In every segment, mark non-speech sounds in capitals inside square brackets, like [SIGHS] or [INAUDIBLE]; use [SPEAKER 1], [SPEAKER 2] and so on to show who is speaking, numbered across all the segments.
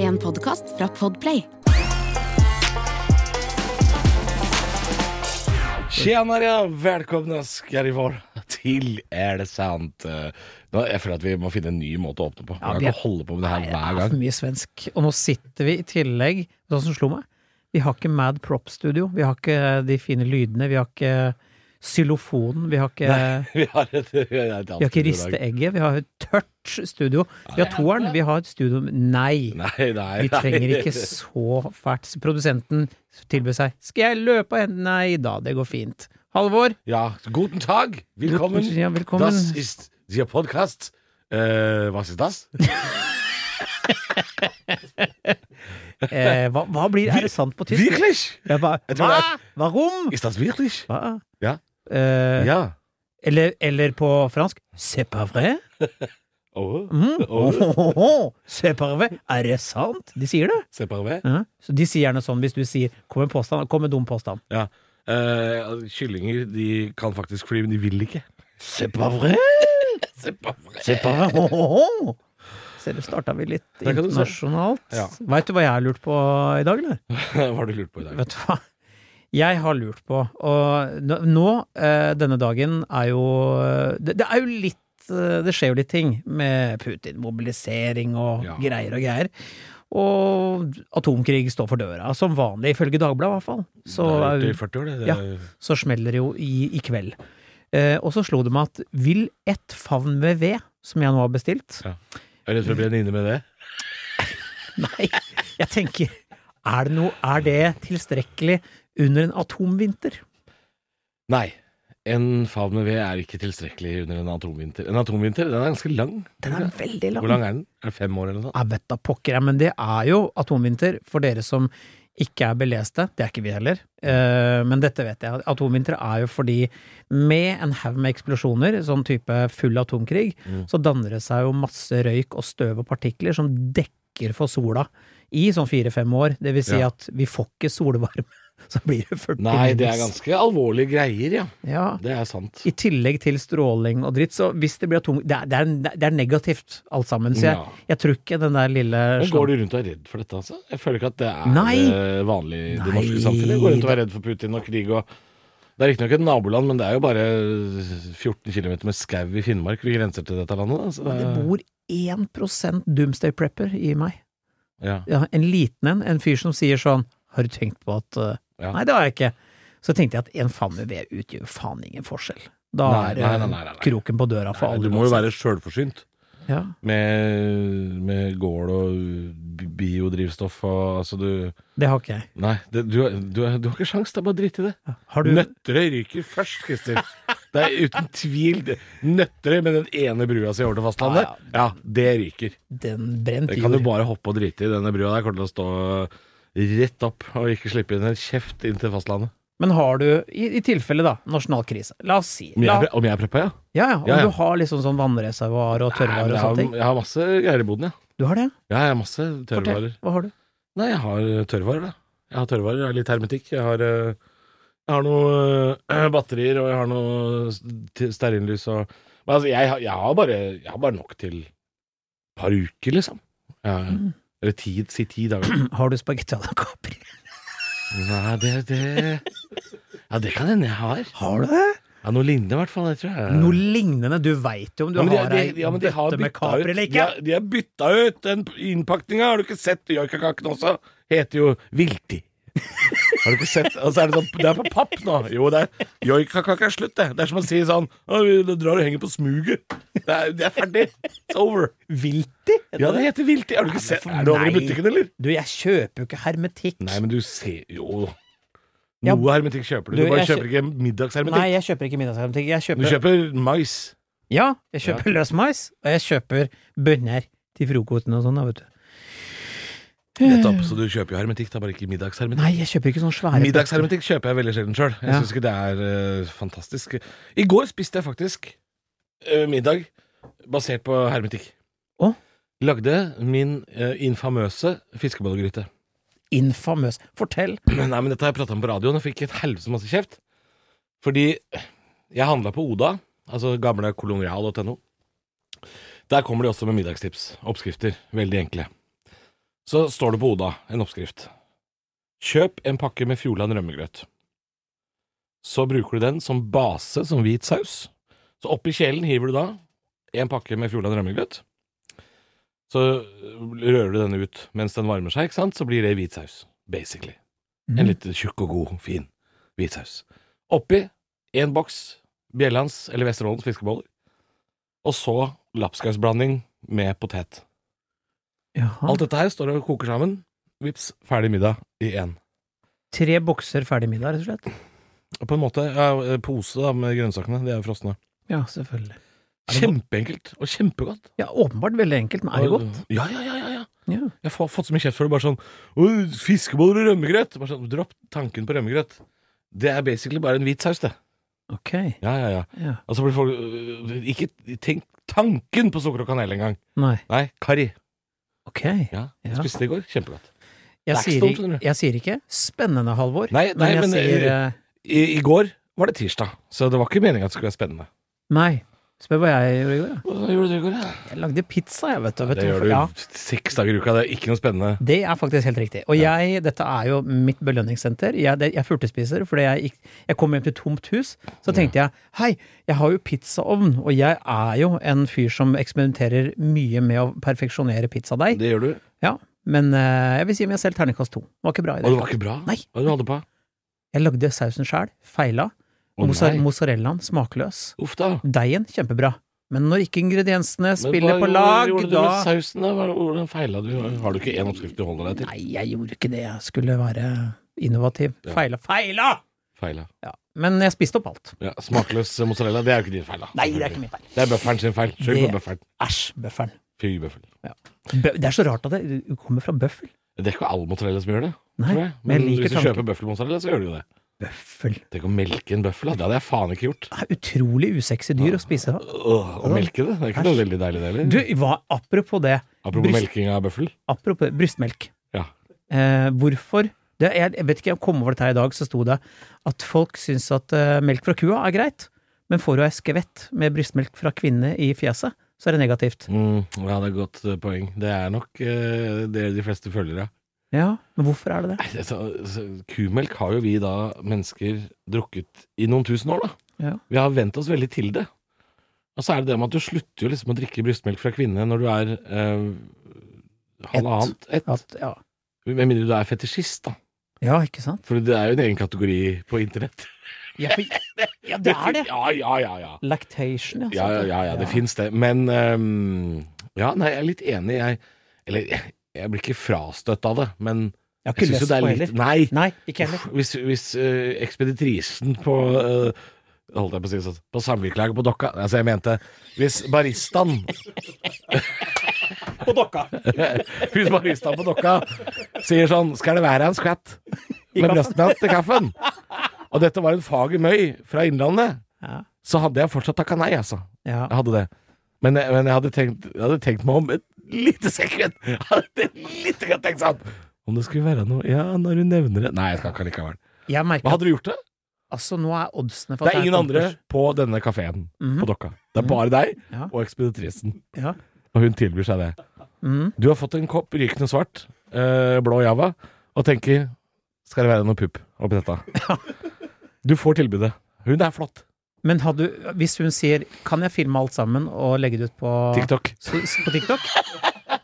[SPEAKER 1] en podkast fra Podplay.
[SPEAKER 2] Tjenere, velkomne skal dere være til Er det sant? Eh, Nå, jeg føler at vi må finne en ny måte å åpne på. Vi
[SPEAKER 3] Ja,
[SPEAKER 2] kan
[SPEAKER 3] vi er-
[SPEAKER 2] ikke holde på med det her
[SPEAKER 3] Nei,
[SPEAKER 2] hver
[SPEAKER 3] Det er
[SPEAKER 2] gang.
[SPEAKER 3] for mye svensk. Og nå sitter vi i tillegg vet du hva som slo meg? Vi har ikke Mad Prop Studio. Vi har ikke de fine lydene. Vi har ikke xylofonen. Vi har ikke,
[SPEAKER 2] [LAUGHS] Vi har, et, vi har, et
[SPEAKER 3] vi har ikke
[SPEAKER 2] annet studio i dag.
[SPEAKER 3] risteegget. Vi har et tørt studio. Vi har toeren. Vi har et studio Nei!
[SPEAKER 2] Nei, nei,
[SPEAKER 3] Vi
[SPEAKER 2] nei.
[SPEAKER 3] trenger ikke så fælt. Så Produsenten tilbød seg. Skal jeg løpe og hente Nei da, det går fint. Halvor,
[SPEAKER 2] [LAUGHS] Ja, guten tag! Velkommen!
[SPEAKER 3] Ja, velkommen.
[SPEAKER 2] Das ist der Podcast. Eh, was ist das?
[SPEAKER 3] eh, hva, hva blir Er det sant på tysk?
[SPEAKER 2] Wirklich?
[SPEAKER 3] Jeg bare,
[SPEAKER 2] Jeg tror
[SPEAKER 3] hva?
[SPEAKER 2] det
[SPEAKER 3] Varom?
[SPEAKER 2] Ist das wirklich?
[SPEAKER 3] Hva?
[SPEAKER 2] Ja.
[SPEAKER 3] Eh,
[SPEAKER 2] Ja.
[SPEAKER 3] Eller, eller på fransk C'est pas vrai?
[SPEAKER 2] Oh,
[SPEAKER 3] Mm.
[SPEAKER 2] Oh.
[SPEAKER 3] Oh, oh, oh. [LAUGHS] C'est pas vrai? Er det sant? De sier det.
[SPEAKER 2] c'est pas vrai?
[SPEAKER 3] Ja. Så de sier gjerne sånn hvis du sier Kom med påstand, kom med dum påstand.
[SPEAKER 2] Ja. Eh, kyllinger de kan faktisk fly, men de vil ikke. [LAUGHS]
[SPEAKER 3] C'est pas [LAUGHS] vrai?
[SPEAKER 2] C'est pas vrai.
[SPEAKER 3] C'est pas vrai? Oh, oh, [LAUGHS] oh. Så det starta vi litt
[SPEAKER 2] Der kan du se.
[SPEAKER 3] internasjonalt.
[SPEAKER 2] Ja.
[SPEAKER 3] Veit du hva jeg har lurt på i dag, eller?
[SPEAKER 2] Hva har du lurt på i dag?
[SPEAKER 3] Vet du hva? Jeg har lurt på, og nå- nå, eh, denne dagen, er jo eh, Det, det er jo litt eh, Det skjer jo litt ting med Putin. Mobilisering og
[SPEAKER 2] Ja.
[SPEAKER 3] greier og greier. Og atomkrig står for døra, som vanlig, ifølge Dagbladet i hvert fall. Så,
[SPEAKER 2] Det har
[SPEAKER 3] er
[SPEAKER 2] jeg gjort
[SPEAKER 3] jo-
[SPEAKER 2] i 40 år, det.
[SPEAKER 3] Ja. så smeller det jo i, i kveld. Eh, og så slo det meg at vil ett favn med ved, som jeg nå har bestilt
[SPEAKER 2] Jeg er redd for å brenne inne med det.
[SPEAKER 3] [LAUGHS] Nei, jeg tenker er det, noe, er det tilstrekkelig under en atomvinter?
[SPEAKER 2] Nei. En favn med ved er ikke tilstrekkelig under en atomvinter. En atomvinter den er ganske lang.
[SPEAKER 3] Den er veldig lang.
[SPEAKER 2] Hvor lang er den? Er det fem år eller noe sånt?
[SPEAKER 3] Jeg vet da pokker, jeg, men det er jo atomvinter for dere som ikke er beleste. Det er ikke vi heller, Eh, men dette vet jeg. Atomvinter er jo fordi med en haug med eksplosjoner, sånn type full atomkrig,
[SPEAKER 2] Mm.
[SPEAKER 3] så danner det seg jo masse røyk og støv og partikler som dekker for sola i sånn fire-fem år. Det vil si
[SPEAKER 2] Ja.
[SPEAKER 3] at vi får ikke solvarme, [LAUGHS] så blir det 40
[SPEAKER 2] Nei, det er
[SPEAKER 3] minus.
[SPEAKER 2] ganske alvorlige greier, ja.
[SPEAKER 3] ja.
[SPEAKER 2] Det er sant.
[SPEAKER 3] I tillegg til stråling og dritt, så hvis det blir atom... Det er, det er, det er negativt, alt sammen. Så jeg,
[SPEAKER 2] Ja.
[SPEAKER 3] jeg tror ikke den der lille
[SPEAKER 2] Men
[SPEAKER 3] slangen-
[SPEAKER 2] går du rundt og er redd for dette, altså? Jeg føler ikke at det er
[SPEAKER 3] Nei.
[SPEAKER 2] eh, vanlig i det
[SPEAKER 3] Nei.
[SPEAKER 2] norske samfunnet. Går rundt og er redd for Putin og krig og Det er riktignok et naboland, men det er jo bare 14 km med skau i Finnmark. Vi grenser til dette landet, da. Så
[SPEAKER 3] Men
[SPEAKER 2] det,
[SPEAKER 3] det bor 1 doomsday prepper i meg.
[SPEAKER 2] ja.
[SPEAKER 3] Ja, en liten en. En fyr som sier sånn Har du tenkt på at eh,
[SPEAKER 2] Ja.
[SPEAKER 3] Nei, det har jeg ikke. Så tenkte jeg at en faen med ved utgjør faen ingen forskjell. Da
[SPEAKER 2] Nei,
[SPEAKER 3] er
[SPEAKER 2] nei,
[SPEAKER 3] eh,
[SPEAKER 2] nei, nei, nei, nei.
[SPEAKER 3] kroken på døra for alle.
[SPEAKER 2] Du må jo
[SPEAKER 3] uansett.
[SPEAKER 2] være sjølforsynt.
[SPEAKER 3] ja.
[SPEAKER 2] med, med gård og bi- biodrivstoff og altså du
[SPEAKER 3] Det har ikke jeg.
[SPEAKER 2] Nei, det, du, du, du har ikke sjans, det er bare drit i det.
[SPEAKER 3] Har du
[SPEAKER 2] Nøtterøy ryker først, Christer. Det er uten tvil det. Nøtterøy med den ene brua si over til fastlandet,
[SPEAKER 3] Ja,
[SPEAKER 2] ja, det ryker.
[SPEAKER 3] den brent
[SPEAKER 2] Det kan du
[SPEAKER 3] jord?
[SPEAKER 2] bare hoppe og drite i. Denne brua der kommer til å stå rett opp og ikke slippe inn en kjeft inn til fastlandet.
[SPEAKER 3] Men har du, i, i tilfelle da, nasjonal krise, la oss si
[SPEAKER 2] Om
[SPEAKER 3] la,
[SPEAKER 2] jeg, om jeg er preppa, ja?
[SPEAKER 3] Ja ja, om
[SPEAKER 2] Ja, ja.
[SPEAKER 3] du har liksom sånn vannreservoar
[SPEAKER 2] Nei,
[SPEAKER 3] og
[SPEAKER 2] men
[SPEAKER 3] tørrvarer og
[SPEAKER 2] jeg, har,
[SPEAKER 3] sånne ting.
[SPEAKER 2] jeg har masse greier i boden, ja.
[SPEAKER 3] Du har det?
[SPEAKER 2] Ja, jeg har masse
[SPEAKER 3] Fortell.
[SPEAKER 2] tørrvarer.
[SPEAKER 3] Hva har du? [CLEARS THROAT]
[SPEAKER 2] Nei, jeg har eh, tørrvarer, da. Jeg har tørrvarer, jeg har litt hermetikk. Jeg har, eh, jeg har noe eh, batterier, og jeg har noe s- t- stearinlys og Men altså, jeg, har- jeg, har bare, jeg har bare nok til et par uker, liksom. Ja, Eller ti, si ti dager.
[SPEAKER 3] [CLEARS THROAT] Har du spagetti à la Capri?
[SPEAKER 2] Nei, det, det Ja, det kan hende jeg har.
[SPEAKER 3] Har du det?
[SPEAKER 2] Ja, Noe lignende, i hvert fall. Det tror jeg.
[SPEAKER 3] Noe lignende. Du veit jo om du
[SPEAKER 2] Eh, Ja, men de-
[SPEAKER 3] har
[SPEAKER 2] de-
[SPEAKER 3] ei
[SPEAKER 2] ja, men de har
[SPEAKER 3] bøtte med
[SPEAKER 2] bytta
[SPEAKER 3] kapri
[SPEAKER 2] ut-
[SPEAKER 3] eller
[SPEAKER 2] De
[SPEAKER 3] ikke.
[SPEAKER 2] har, de har bytta ut den innpakninga, har du ikke sett? Joikakakene også heter jo Vilti. Har du ikke sett? Altså, er det, sånn, det er på papp nå. Jo, det er joikakake er slutt, det. Det er som å si sånn «Å, Du drar og henger på smuget. Det er, det er ferdig. It's over.
[SPEAKER 3] Vilti?
[SPEAKER 2] Ja, det heter Vilti. Har du ikke sett?
[SPEAKER 3] for-
[SPEAKER 2] Er du over i
[SPEAKER 3] nei.
[SPEAKER 2] butikken, eller?
[SPEAKER 3] Du, jeg kjøper jo ikke hermetikk.
[SPEAKER 2] Nei, men du ser jo
[SPEAKER 3] Ja,
[SPEAKER 2] Noe hermetikk kjøper du.
[SPEAKER 3] du,
[SPEAKER 2] Du bare
[SPEAKER 3] jeg
[SPEAKER 2] kjøper ikke
[SPEAKER 3] Nei,
[SPEAKER 2] middagshermetikk.
[SPEAKER 3] jeg kjøper ikke middagshermetikk. Jeg
[SPEAKER 2] Du
[SPEAKER 3] kjøper,
[SPEAKER 2] kjøper mais.
[SPEAKER 3] [SIGHS] Ja, jeg kjøper løsmais, og jeg kjøper bønner til frokosten og sånn, da, vet du.
[SPEAKER 2] Nettopp. Så du kjøper jo hermetikk, da, bare ikke middagshermetikk.
[SPEAKER 3] Nei, jeg kjøper ikke sånne svære
[SPEAKER 2] Middagshermetikk kjøper jeg veldig sjelden sjøl. Jeg
[SPEAKER 3] Ja.
[SPEAKER 2] synes syns ikke det er eh, fantastisk. I går spiste jeg faktisk eh, middag basert på hermetikk.
[SPEAKER 3] Å?
[SPEAKER 2] Lagde min eh, infamøse fiskebollegryte.
[SPEAKER 3] Infamøs. Fortell.
[SPEAKER 2] [CLEARS THROAT] Nei, men dette har jeg prata om på radioen og fikk et helvete masse kjeft. Fordi jeg handla på Oda, altså gamle kolonial.no. Der kommer de også med middagstips. Oppskrifter. Veldig enkle. Så står det på Oda en oppskrift. Kjøp en pakke med Fjordland rømmegrøt. Så bruker du den som base, som hvit saus. Så oppi kjelen hiver du da en pakke med Fjordland rømmegrøt. Så rører du denne ut mens den varmer seg, ikke sant? så blir det hvit saus, basically.
[SPEAKER 3] Mhm.
[SPEAKER 2] En litt tjukk og god, fin hvit saus. Oppi en boks Bjellands eller Vesterålens fiskeboller. Og så lapskausblanding med potet.
[SPEAKER 3] Jaha.
[SPEAKER 2] Alt dette her står og koker sammen. Vips, ferdig middag i én.
[SPEAKER 3] Tre bokser ferdig middag, rett og slett.
[SPEAKER 2] Og På en måte ja, pose da med grønnsakene. De er jo frosne.
[SPEAKER 3] Ja, selvfølgelig. Er det
[SPEAKER 2] Kjempeenkelt og kjempegodt.
[SPEAKER 3] Ja, åpenbart veldig enkelt, men er det
[SPEAKER 2] Og-
[SPEAKER 3] godt?
[SPEAKER 2] Ja, ja, ja. ja, ja.
[SPEAKER 3] Ja.
[SPEAKER 2] Jeg har fått så mye kjeft for det. Bare sånn «Å, Fiskeboller og rømmegrøt! Bare sånn, Dropp tanken på rømmegrøt. Det er basically bare en hvit saus, det.
[SPEAKER 3] Ok.
[SPEAKER 2] Ja, ja, ja.
[SPEAKER 3] Ja.
[SPEAKER 2] Og så blir folk øh, Ikke tenk tanken på sukker og kanel engang.
[SPEAKER 3] Nei.
[SPEAKER 2] Nei, karri.
[SPEAKER 3] Ok.
[SPEAKER 2] Ja,
[SPEAKER 3] Ja.
[SPEAKER 2] jeg spiste det i går. Kjempegodt.
[SPEAKER 3] Jeg
[SPEAKER 2] er ikke
[SPEAKER 3] sier,
[SPEAKER 2] dumt,
[SPEAKER 3] ikke-
[SPEAKER 2] skjønner du.
[SPEAKER 3] jeg sier ikke 'spennende, Halvor',
[SPEAKER 2] Nei, nei,
[SPEAKER 3] men jeg
[SPEAKER 2] men,
[SPEAKER 3] sier
[SPEAKER 2] eh,
[SPEAKER 3] eh,
[SPEAKER 2] I, I går var det tirsdag, så det var ikke meninga at det skulle være spennende.
[SPEAKER 3] Nei. Spør hva jeg gjorde i går. da.
[SPEAKER 2] Hva gjorde du i går, da?
[SPEAKER 3] Jeg lagde pizza, jeg, vet du. Vet
[SPEAKER 2] Det
[SPEAKER 3] du
[SPEAKER 2] gjør
[SPEAKER 3] hvorfor?
[SPEAKER 2] du
[SPEAKER 3] Ja.
[SPEAKER 2] seks dager i uka. Det er ikke noe spennende.
[SPEAKER 3] Det er faktisk helt riktig. Og jeg, dette er jo mitt belønningssenter. Jeg, det, jeg furtespiser fordi jeg, gikk- jeg kom hjem til et tomt hus. Så tenkte jeg hei, jeg har jo pizzaovn, og jeg er jo en fyr som eksperimenterer mye med å perfeksjonere pizzadeig.
[SPEAKER 2] Det gjør du.
[SPEAKER 3] Ja, men eh, jeg vil si meg selv terningkast to. Det var ikke bra i
[SPEAKER 2] Og
[SPEAKER 3] det.
[SPEAKER 2] det
[SPEAKER 3] hele
[SPEAKER 2] var ikke bra?
[SPEAKER 3] Nei.
[SPEAKER 2] Hva du hadde på?
[SPEAKER 3] tatt. Jeg lagde sausen sjæl, feila.
[SPEAKER 2] Å,
[SPEAKER 3] Mozzare-
[SPEAKER 2] nei.
[SPEAKER 3] Mozzarellaen smakløs.
[SPEAKER 2] Uff da.
[SPEAKER 3] Deigen kjempebra. Men når ikke ingrediensene
[SPEAKER 2] Men
[SPEAKER 3] spiller
[SPEAKER 2] hva
[SPEAKER 3] på
[SPEAKER 2] gjorde-
[SPEAKER 3] lag,
[SPEAKER 2] gjorde du
[SPEAKER 3] da
[SPEAKER 2] med sausen, da? Hva- Hvordan feila du? Har du ikke én oppskrift du holder deg til?
[SPEAKER 3] Nei, jeg gjorde ikke det. Jeg skulle være innovativ.
[SPEAKER 2] Ja.
[SPEAKER 3] Feila. Feila!
[SPEAKER 2] Feila.
[SPEAKER 3] Ja, men jeg spiste opp alt.
[SPEAKER 2] Ja, smakløs mozzarella, det er jo ikke din feil, da.
[SPEAKER 3] Nei, det er ikke min feil.
[SPEAKER 2] Det er bøfferen sin feil. Skyld på
[SPEAKER 3] Det-
[SPEAKER 2] bøfferen.
[SPEAKER 3] Æsj, bøffelen.
[SPEAKER 2] Fy bøffel.
[SPEAKER 3] Bø det er så rart at det det kommer fra bøffel.
[SPEAKER 2] Det er ikke all mozzarella som gjør det.
[SPEAKER 3] Nei,
[SPEAKER 2] Tror jeg.
[SPEAKER 3] men
[SPEAKER 2] Men
[SPEAKER 3] jeg
[SPEAKER 2] hvis
[SPEAKER 3] liker
[SPEAKER 2] du
[SPEAKER 3] tanken.
[SPEAKER 2] kjøper bøffelmozzarella, så gjør du jo det.
[SPEAKER 3] Bøffel.
[SPEAKER 2] Tenk å melke en bøffel, da. Det hadde jeg faen ikke gjort.
[SPEAKER 3] Det er utrolig usexy dyr å
[SPEAKER 2] Ah.
[SPEAKER 3] spise. da.
[SPEAKER 2] Åh, å melke det, det er ikke noe veldig deilig, det
[SPEAKER 3] Du,
[SPEAKER 2] heller.
[SPEAKER 3] hva, apropos det.
[SPEAKER 2] Apropos
[SPEAKER 3] bryst-
[SPEAKER 2] melking av bøffel.
[SPEAKER 3] Apropos brystmelk.
[SPEAKER 2] Ja.
[SPEAKER 3] Eh, hvorfor? Det, jeg, jeg vet ikke, jeg kom over dette her i dag, så sto det at folk syns at eh, melk fra kua er greit, men får du ei skvett med brystmelk fra kvinne i fjeset, så er det negativt.
[SPEAKER 2] Mm, ja, det er et godt eh, poeng. Det er nok eh, det de fleste følger, ja.
[SPEAKER 3] Ja, men hvorfor er det det?
[SPEAKER 2] Nei, det- så- så Kumelk har jo vi da mennesker drukket i noen tusen år, da.
[SPEAKER 3] Ja.
[SPEAKER 2] Vi har vent oss veldig til det. Og så er det det med at du slutter jo liksom å drikke brystmelk fra kvinne når du er eh, halvannet ett.
[SPEAKER 3] At, ja.
[SPEAKER 2] Med mindre du er fetisjist, da.
[SPEAKER 3] ja, ikke sant?
[SPEAKER 2] For det er jo en egen kategori på internett.
[SPEAKER 3] Ja, for, [LAUGHS] ja det er det.
[SPEAKER 2] Ja, ja, ja. ja.
[SPEAKER 3] Lactation,
[SPEAKER 2] Ja, ja, ja, ja det fins det. Men ehm, Ja, nei, jeg er litt enig. Jeg Eller jeg- jeg blir ikke frastøtt av det, men
[SPEAKER 3] Jeg
[SPEAKER 2] jeg
[SPEAKER 3] har ikke
[SPEAKER 2] syns jo
[SPEAKER 3] lyst
[SPEAKER 2] det
[SPEAKER 3] på
[SPEAKER 2] er
[SPEAKER 3] heller.
[SPEAKER 2] litt Nei!
[SPEAKER 3] Nei,
[SPEAKER 2] [LAUGHS]
[SPEAKER 3] ikke heller.
[SPEAKER 2] Uff, Hvis, hvis eh, ekspeditrisen på eh, Holdt jeg på å si sånn På samvirkelaget på Dokka Altså, jeg mente Hvis baristaen
[SPEAKER 3] På dokka.
[SPEAKER 2] Hvis baristaen på Dokka sier sånn Skal det være en skvett med brøstmelk til kaffen? Og dette var en fager møy fra Innlandet,
[SPEAKER 3] Ja.
[SPEAKER 2] så hadde jeg fortsatt takka nei, altså.
[SPEAKER 3] Ja.
[SPEAKER 2] Jeg hadde det. Men, jeg- men jeg, hadde tenkt, jeg hadde tenkt meg om et lite sekund. [LAUGHS] Jeg hadde litt grann tenkt sånn Om det skulle være noe Ja, når hun nevner det Nei, jeg skal ikke likevel.
[SPEAKER 3] Jeg
[SPEAKER 2] Men
[SPEAKER 3] merker at
[SPEAKER 2] hadde du gjort det?
[SPEAKER 3] altså, nå er oddsene for
[SPEAKER 2] Det
[SPEAKER 3] at
[SPEAKER 2] er
[SPEAKER 3] jeg
[SPEAKER 2] ingen
[SPEAKER 3] kommer
[SPEAKER 2] andre på denne kafeen
[SPEAKER 3] Mhm.
[SPEAKER 2] på Dokka. Det er bare deg
[SPEAKER 3] Ja.
[SPEAKER 2] og ekspeditrisen.
[SPEAKER 3] først. Ja.
[SPEAKER 2] Og hun tilbyr seg det.
[SPEAKER 3] Mhm.
[SPEAKER 2] Du har fått en kopp rykende svart, eh, blå java, og tenker Skal det være noe pupp oppi [LAUGHS] dette? Du får tilbudet. Hun er flott.
[SPEAKER 3] Men hadde, du- hvis hun sier 'kan jeg filme alt sammen og legge det ut på
[SPEAKER 2] TikTok.
[SPEAKER 3] Så, s- på TikTok?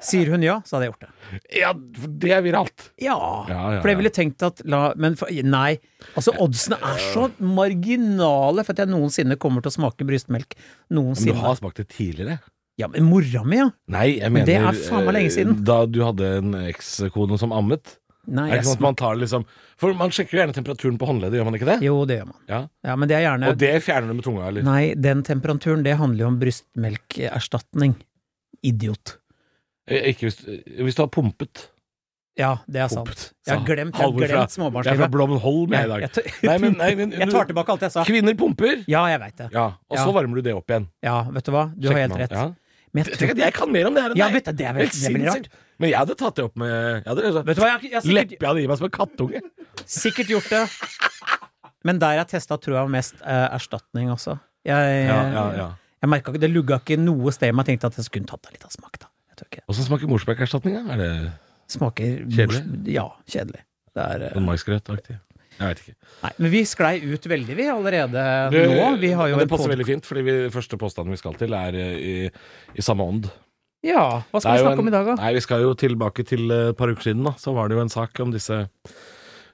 [SPEAKER 3] Sier hun ja, så hadde jeg gjort det.
[SPEAKER 2] Ja, for det er viralt.
[SPEAKER 3] Ja.
[SPEAKER 2] Ja, ja,
[SPEAKER 3] For jeg
[SPEAKER 2] ja.
[SPEAKER 3] ville tenkt at la, Men for, nei. Altså, oddsene er så marginale for at jeg noensinne kommer til å smake brystmelk.
[SPEAKER 2] Men du
[SPEAKER 3] Noensinne.
[SPEAKER 2] har smakt det tidligere.
[SPEAKER 3] Ja, men mora mi, ja.
[SPEAKER 2] Nei, jeg
[SPEAKER 3] Men
[SPEAKER 2] mener
[SPEAKER 3] det er faen meg lenge siden.
[SPEAKER 2] eh, Da du hadde en ekskone som ammet. Er
[SPEAKER 3] Nei,
[SPEAKER 2] det
[SPEAKER 3] jeg
[SPEAKER 2] ikke sånn at man tar liksom For man sjekker jo gjerne temperaturen på håndleddet, gjør man ikke
[SPEAKER 3] smak-
[SPEAKER 2] det?
[SPEAKER 3] Jo, det gjør man.
[SPEAKER 2] Ja.
[SPEAKER 3] Ja, men det er gjerne
[SPEAKER 2] Og det fjerner du med tunga, eller?
[SPEAKER 3] Nei, den temperaturen, det handler jo om brystmelkerstatning. Idiot.
[SPEAKER 2] Eh, Ikke hvis, eh, hvis du har pumpet.
[SPEAKER 3] Ja, det er sant.
[SPEAKER 2] Pumpet,
[SPEAKER 3] Jeg
[SPEAKER 2] sa
[SPEAKER 3] har glemt, jeg har
[SPEAKER 2] Halvor fra-
[SPEAKER 3] glemt
[SPEAKER 2] Jeg er fra
[SPEAKER 3] småbarnslivet.
[SPEAKER 2] Blommenholm jeg i
[SPEAKER 3] Jeg,
[SPEAKER 2] dag.
[SPEAKER 3] jeg,
[SPEAKER 2] [LAUGHS] Nei, men, nei, men
[SPEAKER 3] [LAUGHS] jeg tar tilbake alt jeg sa.
[SPEAKER 2] Kvinner pumper,
[SPEAKER 3] Ja, jeg veit det.
[SPEAKER 2] ja, og så
[SPEAKER 3] Ja.
[SPEAKER 2] varmer du det opp igjen.
[SPEAKER 3] Ja, vet du hva, du har
[SPEAKER 2] Sjekker
[SPEAKER 3] helt
[SPEAKER 2] man.
[SPEAKER 3] rett.
[SPEAKER 2] Ja.
[SPEAKER 3] Men jeg
[SPEAKER 2] Tenk
[SPEAKER 3] tror
[SPEAKER 2] at jeg kan mer om det her enn
[SPEAKER 3] Ja,
[SPEAKER 2] deg.
[SPEAKER 3] vet du, det er vel
[SPEAKER 2] Helt
[SPEAKER 3] det blir rart.
[SPEAKER 2] sinnssykt. Men jeg hadde tatt det opp med jeg hadde,
[SPEAKER 3] Vet du hva, jeg, jeg har sikkert,
[SPEAKER 2] Leppe jeg hadde i meg som en kattunge.
[SPEAKER 3] sikkert gjort det. Men der jeg testa, tror jeg var mest eh, erstatning også. Jeg,
[SPEAKER 2] Ja, ja, ja.
[SPEAKER 3] jeg merka ikke Det lugga ikke noe sted, men jeg tenkte at jeg skulle tatt av litt av smak, da. Jeg tror ikke det.
[SPEAKER 2] Åssen smaker morsmelkerstatning, da? Er det
[SPEAKER 3] Smaker
[SPEAKER 2] Kjedelig?
[SPEAKER 3] Ja, kjedelig. Det er, eh,
[SPEAKER 2] Sånn maisgrøtaktig. Jeg veit ikke.
[SPEAKER 3] nei, men vi sklei ut veldig, vi, allerede
[SPEAKER 2] Du,
[SPEAKER 3] nå. Vi har jo
[SPEAKER 2] Eh, det
[SPEAKER 3] en
[SPEAKER 2] passer
[SPEAKER 3] pod-
[SPEAKER 2] veldig fint, fordi vi, første påstanden vi skal til, er eh, i, i samme ånd.
[SPEAKER 3] Ja, hva skal
[SPEAKER 2] Det er jo
[SPEAKER 3] vi snakke om
[SPEAKER 2] en-
[SPEAKER 3] i dag, da?
[SPEAKER 2] Nei, Vi skal jo tilbake til eh, et par uker siden. da Så var det jo en sak om disse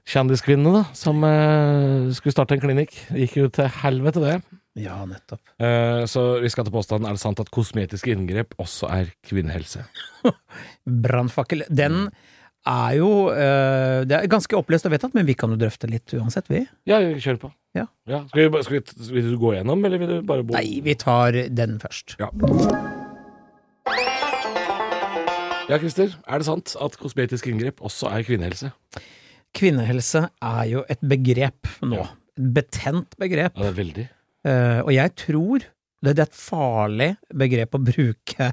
[SPEAKER 2] kjendiskvinnene da som eh, skulle starte en klinikk. Gikk jo til helvete, det.
[SPEAKER 3] Ja, nettopp.
[SPEAKER 2] Eh, så vi skal til påstanden er det sant at kosmetiske inngrep også er kvinnehelse.
[SPEAKER 3] Brannfakkel. Den er jo eh, Det er ganske oppløst og vedtatt, men vi kan jo drøfte litt uansett, vi.
[SPEAKER 2] Ja, kjør på.
[SPEAKER 3] Ja.
[SPEAKER 2] Skal, vi, ba- skal, vi, skal vi gå gjennom, eller vil du bare bo
[SPEAKER 3] Nei, vi tar den først.
[SPEAKER 2] Ja. ja, Christer. Er det sant at kosmetiske inngrep også er kvinnehelse?
[SPEAKER 3] Kvinnehelse er jo et begrep nå.
[SPEAKER 2] Ja.
[SPEAKER 3] Et betent begrep.
[SPEAKER 2] Ja, det er veldig.
[SPEAKER 3] Eh, og jeg tror det, det er et farlig begrep å bruke,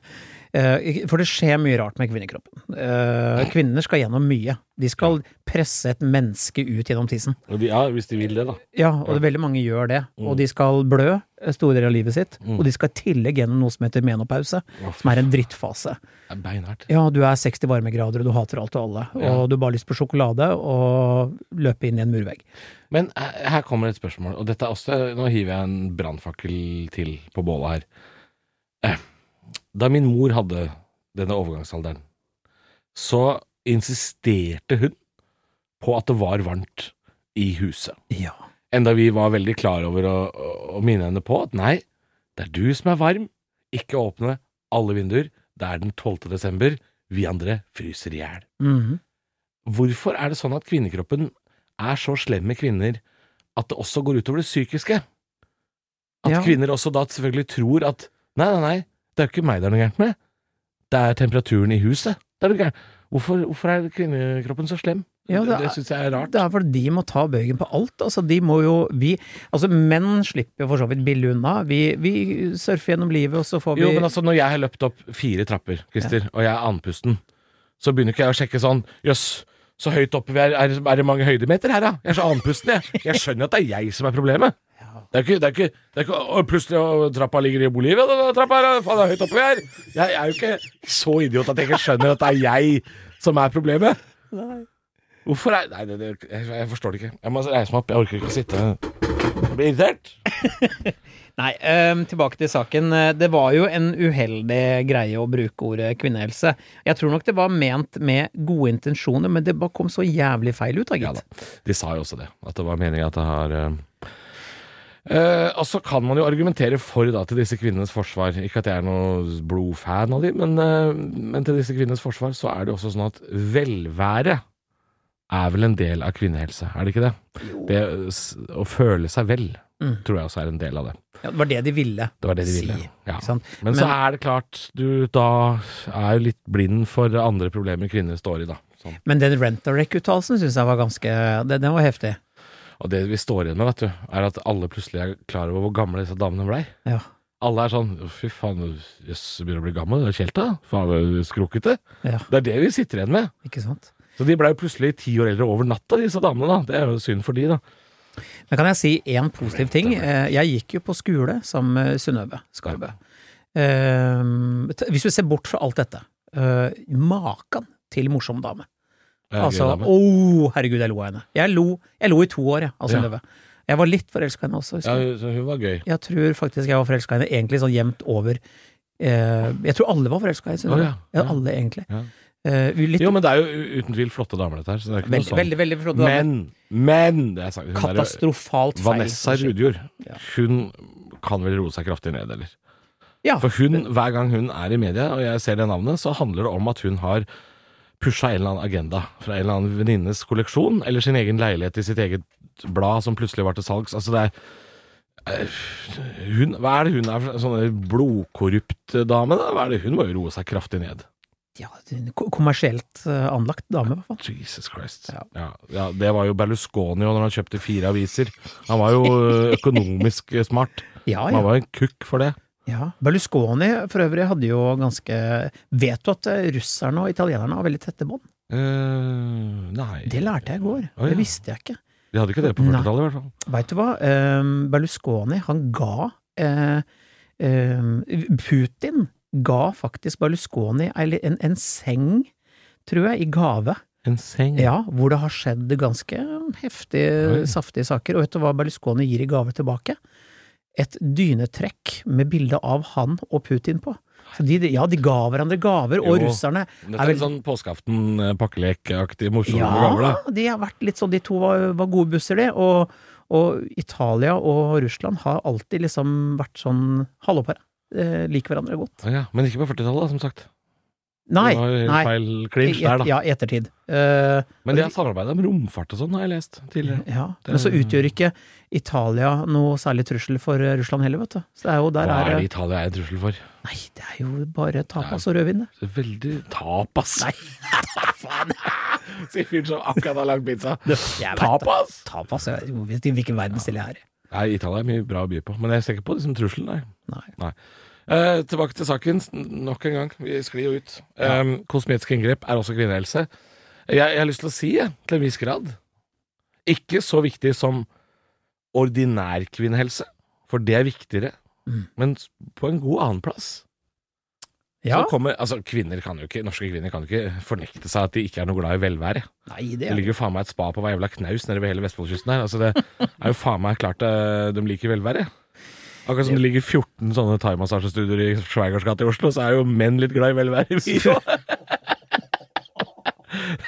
[SPEAKER 3] eh, for det skjer mye rart med kvinnekroppen. Eh, kvinner skal gjennom mye. De skal presse et menneske ut gjennom tissen.
[SPEAKER 2] Og de- Ja, hvis de vil det, da.
[SPEAKER 3] Ja, og det, veldig mange gjør det. Og de skal blø eh, store deler av livet sitt,
[SPEAKER 2] Mm.
[SPEAKER 3] og de skal i tillegg gjennom noe som heter menopause,
[SPEAKER 2] Å, fy,
[SPEAKER 3] som er en drittfase.
[SPEAKER 2] det er beinhardt.
[SPEAKER 3] Ja, du er 60 varmegrader, og du hater alt og alle, og
[SPEAKER 2] Ja.
[SPEAKER 3] du har bare lyst på sjokolade og løpe inn i en murvegg.
[SPEAKER 2] Men eh, her kommer et spørsmål, og dette er også Nå hiver jeg en brannfakkel til på bålet her. Eh, Da min mor hadde denne overgangsalderen, så insisterte hun på at det var varmt i huset.
[SPEAKER 3] Ja.
[SPEAKER 2] Enda vi var veldig klar over å, å- å minne henne på at nei, det er du som er varm. Ikke åpne alle vinduer. Det er den 12. desember. Vi andre fryser i hjel.
[SPEAKER 3] Mhm.
[SPEAKER 2] Hvorfor er det sånn at kvinnekroppen er så slem med kvinner at det også går utover det psykiske? At
[SPEAKER 3] Ja.
[SPEAKER 2] kvinner også da selvfølgelig tror at nei, nei, nei, det er jo ikke meg det er noe gærent med. Det er temperaturen i huset. Det er noe gærent. Hvorfor, hvorfor er kvinnekroppen så slem?
[SPEAKER 3] Ja, det
[SPEAKER 2] det
[SPEAKER 3] er-
[SPEAKER 2] det syns jeg er rart.
[SPEAKER 3] Det er fordi de må ta bøygen på alt. Altså, de må jo, vi, altså menn slipper jo for så vidt billig unna. Vi, vi surfer gjennom livet, og så får vi
[SPEAKER 2] Jo, men altså, når jeg har løpt opp fire trapper, Christer, og jeg er andpusten, så begynner ikke jeg å sjekke sånn Jøss, så høyt oppe vi er, er, er det mange høydemeter her, da? Jeg er så andpusten, jeg. Jeg skjønner at det er jeg som er problemet. Det er ikke, det er ikke, det er ikke å, Plutselig å, trappa ligger i Bolivia, da, trappa her, faen, det er høyt oppe vi er. Jeg er jo ikke så idiot at jeg ikke skjønner at det er jeg som er problemet. Hvorfor er Nei, det, det, jeg, jeg forstår det ikke. Jeg må reise meg opp, jeg orker ikke sitte Jeg blir irritert.
[SPEAKER 3] Nei, ehm, tilbake til saken. Eh, Det var jo en uheldig greie å bruke ordet kvinnehelse. Jeg tror nok det var ment med gode intensjoner, men det bare kom så jævlig feil ut, da,
[SPEAKER 2] Ja
[SPEAKER 3] gitt.
[SPEAKER 2] da. De sa jo også det. At det var meninga at det har eh, eh, og så kan man jo argumentere for da til disse kvinnenes forsvar. Ikke at jeg er noe blodfan av de, men, eh, men til disse kvinnenes forsvar så er det jo også sånn at velvære er vel en del av kvinnehelse, er det ikke det? det s- å føle seg vel
[SPEAKER 3] Mm.
[SPEAKER 2] tror jeg også er en del av det.
[SPEAKER 3] Ja, det var det de ville.
[SPEAKER 2] Det var det de
[SPEAKER 3] Si,
[SPEAKER 2] ville. Ja.
[SPEAKER 3] Ikke sant?
[SPEAKER 2] Men, så
[SPEAKER 3] Men-
[SPEAKER 2] er det klart, du da er jo litt blind for andre problemer kvinner står i, da. Sånn.
[SPEAKER 3] Men den Rent-A-Rec-uttalelsen syns jeg var ganske Den, den var heftig.
[SPEAKER 2] Og det vi står igjen med, vet du, er at alle plutselig er klar over hvor gamle disse damene blei.
[SPEAKER 3] Ja.
[SPEAKER 2] Alle er sånn Fy faen, jøss, du begynner å bli gammel. Du er kjelta. Faen, du er skrukkete.
[SPEAKER 3] ja,
[SPEAKER 2] Det er det vi sitter igjen med.
[SPEAKER 3] ikke sant.
[SPEAKER 2] Så de blei jo plutselig ti år eldre over natta, disse damene. da. Det er jo synd for de, da.
[SPEAKER 3] Men kan jeg si én positiv ting? Eh, Jeg gikk jo på skole sammen med Synnøve Skarbø. Eh, t- Hvis du ser bort fra alt dette, eh, maken til morsom dame.
[SPEAKER 2] Det er gøy,
[SPEAKER 3] Altså,
[SPEAKER 2] damer.
[SPEAKER 3] å, herregud, jeg lo av henne. Jeg lo, jeg lo i to år, jeg, av
[SPEAKER 2] Ja.
[SPEAKER 3] Synnøve. Jeg var litt forelska i henne også,
[SPEAKER 2] ja,
[SPEAKER 3] husker jeg.
[SPEAKER 2] hun- hun var gøy.
[SPEAKER 3] Jeg tror faktisk jeg var forelska i henne egentlig sånn jevnt over. Eh, Jeg tror alle var forelska i
[SPEAKER 2] Å,
[SPEAKER 3] Synnøve.
[SPEAKER 2] ja,
[SPEAKER 3] Ja,
[SPEAKER 2] ja.
[SPEAKER 3] alle, egentlig.
[SPEAKER 2] Ja.
[SPEAKER 3] Eh, vi Litt,
[SPEAKER 2] Jo, men det er jo u- uten tvil flotte damer, dette her. Så det er ikke
[SPEAKER 3] veldig,
[SPEAKER 2] noe sånn.
[SPEAKER 3] veldig, veldig flott dame.
[SPEAKER 2] Men, men det er sagt, hun der-
[SPEAKER 3] Katastrofalt feil.
[SPEAKER 2] Vanessa Rudjord,
[SPEAKER 3] Ja.
[SPEAKER 2] hun kan vel roe seg kraftig ned, eller?
[SPEAKER 3] Ja.
[SPEAKER 2] For hun, hver gang hun er i media, og jeg ser det navnet, så handler det om at hun har pusha en eller annen agenda fra en eller annen venninnes kolleksjon, eller sin egen leilighet i sitt eget blad som plutselig var til salgs. Altså, det er eh, hun, Hva er det hun er for sånn blodkorrupt dame, da? Hva er det Hun må jo roe seg kraftig ned.
[SPEAKER 3] Ja, det er en ko- kommersielt eh, anlagt dame, i hvert fall.
[SPEAKER 2] Jesus Christ.
[SPEAKER 3] Ja.
[SPEAKER 2] Ja. Ja, det var jo Berlusconi og når han kjøpte fire aviser. Han var jo eh, økonomisk smart.
[SPEAKER 3] Ja,
[SPEAKER 2] Han
[SPEAKER 3] ja.
[SPEAKER 2] var jo en kukk for det.
[SPEAKER 3] ja. Berlusconi for øvrig hadde jo ganske Vet du at eh, russerne og italienerne har veldig tette bånd?
[SPEAKER 2] Eh, nei
[SPEAKER 3] Det lærte jeg i går.
[SPEAKER 2] Å, ja.
[SPEAKER 3] Det visste jeg ikke.
[SPEAKER 2] De hadde ikke det på
[SPEAKER 3] Nei.
[SPEAKER 2] 40-tallet, i hvert fall.
[SPEAKER 3] Veit du hva? Ehm, Berlusconi, han ga eh, ehm, Putin ga faktisk Berlusconi ei li- en, en seng tror jeg, i gave.
[SPEAKER 2] En seng.
[SPEAKER 3] Ja, hvor det har skjedd ganske heftige,
[SPEAKER 2] Mm. Oi.
[SPEAKER 3] saftige saker. Og vet du hva Berlusconi gir i gave tilbake? Et dynetrekk med bilde av han og Putin på. Så de, ja, de ga hverandre gaver, og
[SPEAKER 2] Jo.
[SPEAKER 3] russerne
[SPEAKER 2] Dette
[SPEAKER 3] er
[SPEAKER 2] er
[SPEAKER 3] vel-
[SPEAKER 2] litt sånn påskeaften-pakkelek-aktig morsomme
[SPEAKER 3] ja,
[SPEAKER 2] gaver, da.
[SPEAKER 3] de har vært litt sånn, de to var, var gode busser, de. Og, og Italia og Russland har alltid liksom vært sånn halvåpæra. Eh, liker hverandre godt.
[SPEAKER 2] Å ja, men ikke på 40-tallet, da, som sagt.
[SPEAKER 3] Nei!
[SPEAKER 2] det var jo
[SPEAKER 3] nei.
[SPEAKER 2] helt feil clinch der, da.
[SPEAKER 3] Ja, i ettertid. Eh,
[SPEAKER 2] Men de har samarbeida om romfart og sånn, har jeg lest tidligere.
[SPEAKER 3] ja.
[SPEAKER 2] Det-
[SPEAKER 3] Men så utgjør ikke Italia noe særlig trussel for eh, Russland heller, vet du. Så det er jo der
[SPEAKER 2] Hva
[SPEAKER 3] er,
[SPEAKER 2] er
[SPEAKER 3] det-
[SPEAKER 2] det Italia er en trussel for?
[SPEAKER 3] Nei, det er jo bare tapas og rødvin, det.
[SPEAKER 2] Det er veldig tapas.
[SPEAKER 3] Nei, [LAUGHS] faen!
[SPEAKER 2] Sier fyren som akkurat har lagd pizza.
[SPEAKER 3] Jeg vet det.
[SPEAKER 2] Tapas!
[SPEAKER 3] Tapas, jeg vet ikke hvilken verden stiller jeg er i.
[SPEAKER 2] Nei, Italia er mye bra å by på, men jeg ser ikke på det som trussel, nei.
[SPEAKER 3] Nei.
[SPEAKER 2] Eh, tilbake til saken, n- nok en gang. Vi sklir jo ut. Eh, kosmetiske inngrep er også kvinnehelse. Jeg, jeg har lyst til å si, jeg, til en viss grad Ikke så viktig som ordinær kvinnehelse, for det er viktigere,
[SPEAKER 3] Mm.
[SPEAKER 2] men s- på en god annenplass.
[SPEAKER 3] Ja.
[SPEAKER 2] Så kommer, altså kvinner kan jo ikke, Norske kvinner kan jo ikke fornekte seg at de ikke er noe glad i velvære.
[SPEAKER 3] Nei, det
[SPEAKER 2] Det
[SPEAKER 3] er
[SPEAKER 2] ligger jo faen meg et spa på hver jævla knaus nede ved hele Vestfoldkysten her. Altså, det er jo faen meg klart eh, de liker velvære. Akkurat som det ligger 14 sånne thaimassasjestudioer i Schweigers gate i Oslo, så er jo menn litt glad i velvære.
[SPEAKER 3] [LAUGHS]
[SPEAKER 2] vi òg.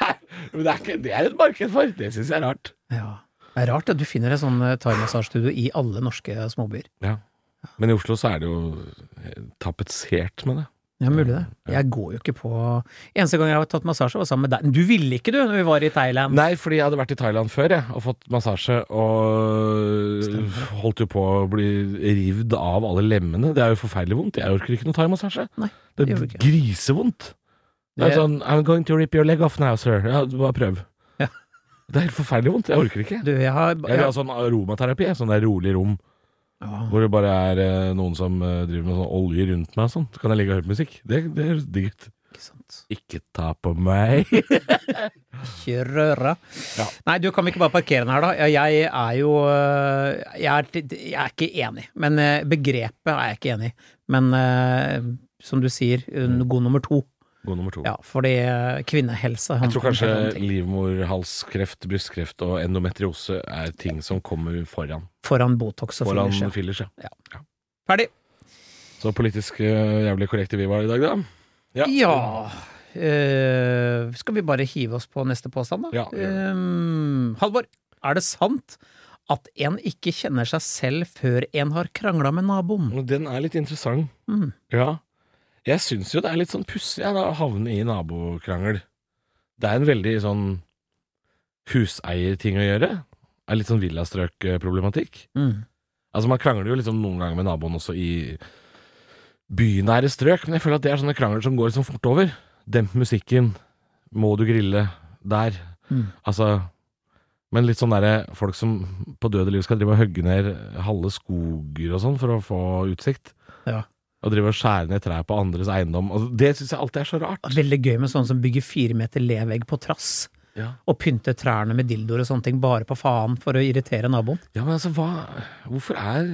[SPEAKER 2] Nei, men det er, ikke, det er et marked for. Det syns jeg er rart.
[SPEAKER 3] Ja. Det er rart at du finner en sånn eh, thaimassasjestudio i alle norske småbyer.
[SPEAKER 2] Men i Oslo så er det jo eh, tapetsert med det.
[SPEAKER 3] Ja, mulig det. Jeg går jo ikke på Eneste gang jeg har tatt massasje, var sammen med deg. Du ville ikke, du, når vi var i Thailand.
[SPEAKER 2] Nei, fordi jeg hadde vært i Thailand før jeg, og fått massasje, og holdt jo på å bli rivd av alle lemmene. Det er jo forferdelig vondt. Jeg orker ikke noe thaimassasje.
[SPEAKER 3] Nei,
[SPEAKER 2] Det
[SPEAKER 3] det
[SPEAKER 2] er
[SPEAKER 3] gjør du ikke.
[SPEAKER 2] grisevondt. Det er
[SPEAKER 3] Det-
[SPEAKER 2] sånn I'm going to rip your leg off now, sir. Ja, du bare prøv.
[SPEAKER 3] Ja.
[SPEAKER 2] Det er helt forferdelig vondt. Jeg orker ikke.
[SPEAKER 3] Du, jeg har
[SPEAKER 2] Jeg vil altså- ha sånn
[SPEAKER 3] jeg,
[SPEAKER 2] aromaterapi, sånn der rolig rom
[SPEAKER 3] Åh,
[SPEAKER 2] hvor det bare er eh, noen som eh, driver med sånn olje rundt meg og sånn. Så kan jeg ligge og høre på musikk. Det, det høres digg ut.
[SPEAKER 3] ikke sant.
[SPEAKER 2] Ikke ta på meg.
[SPEAKER 3] Ikke røre.
[SPEAKER 2] Ja.
[SPEAKER 3] Nei, du, kan vi ikke bare parkere den her, da? Ja, Jeg er jo øh, Jeg er, til- jeg er ikke enig. Men øh, begrepet er jeg ikke enig i. Men øh, som du sier, øh,
[SPEAKER 2] Mm.
[SPEAKER 3] god nummer to.
[SPEAKER 2] God nummer to.
[SPEAKER 3] Ja, fordi øh, kvinnehelse
[SPEAKER 2] Jeg tror kanskje livmorhalskreft, brystkreft og endometriose er ting som kommer foran.
[SPEAKER 3] Foran Botox og
[SPEAKER 2] Foran
[SPEAKER 3] fillers. ja.
[SPEAKER 2] fillers, ja.
[SPEAKER 3] Ferdig!
[SPEAKER 2] Så politisk eh, jævlig korrekte vi var i dag, da. Ja.
[SPEAKER 3] Ja eh, Skal vi bare hive oss på neste påstand, da?
[SPEAKER 2] Ja, gjør det.
[SPEAKER 3] Eh, Halvor, er det sant at en ikke kjenner seg selv før en har krangla med naboen?
[SPEAKER 2] Men Den er litt interessant.
[SPEAKER 3] Mm.
[SPEAKER 2] Ja. Jeg syns jo det er litt sånn pussig ja, da, å havne i nabokrangel. Det er en veldig sånn huseierting å gjøre. Det er litt sånn villastrøk-problematikk.
[SPEAKER 3] Mm.
[SPEAKER 2] Altså Man krangler jo liksom noen ganger med naboen også i bynære strøk, men jeg føler at det er sånne krangler som går liksom fort over. Demp musikken. Må du grille der?
[SPEAKER 3] Mm.
[SPEAKER 2] Altså Men litt sånn derre folk som på døde liv skal drive og hogge ned halve skoger og sånn for å få utsikt.
[SPEAKER 3] Ja.
[SPEAKER 2] Og drive og skjære ned trær på andres eiendom. Altså, det syns jeg alltid er så rart.
[SPEAKER 3] Veldig gøy med sånne som bygger fire meter levegg på trass.
[SPEAKER 2] Ja.
[SPEAKER 3] Og pynter trærne med dildoer og sånne ting bare på faen for å irritere naboen.
[SPEAKER 2] Ja, men altså, hva Hvorfor er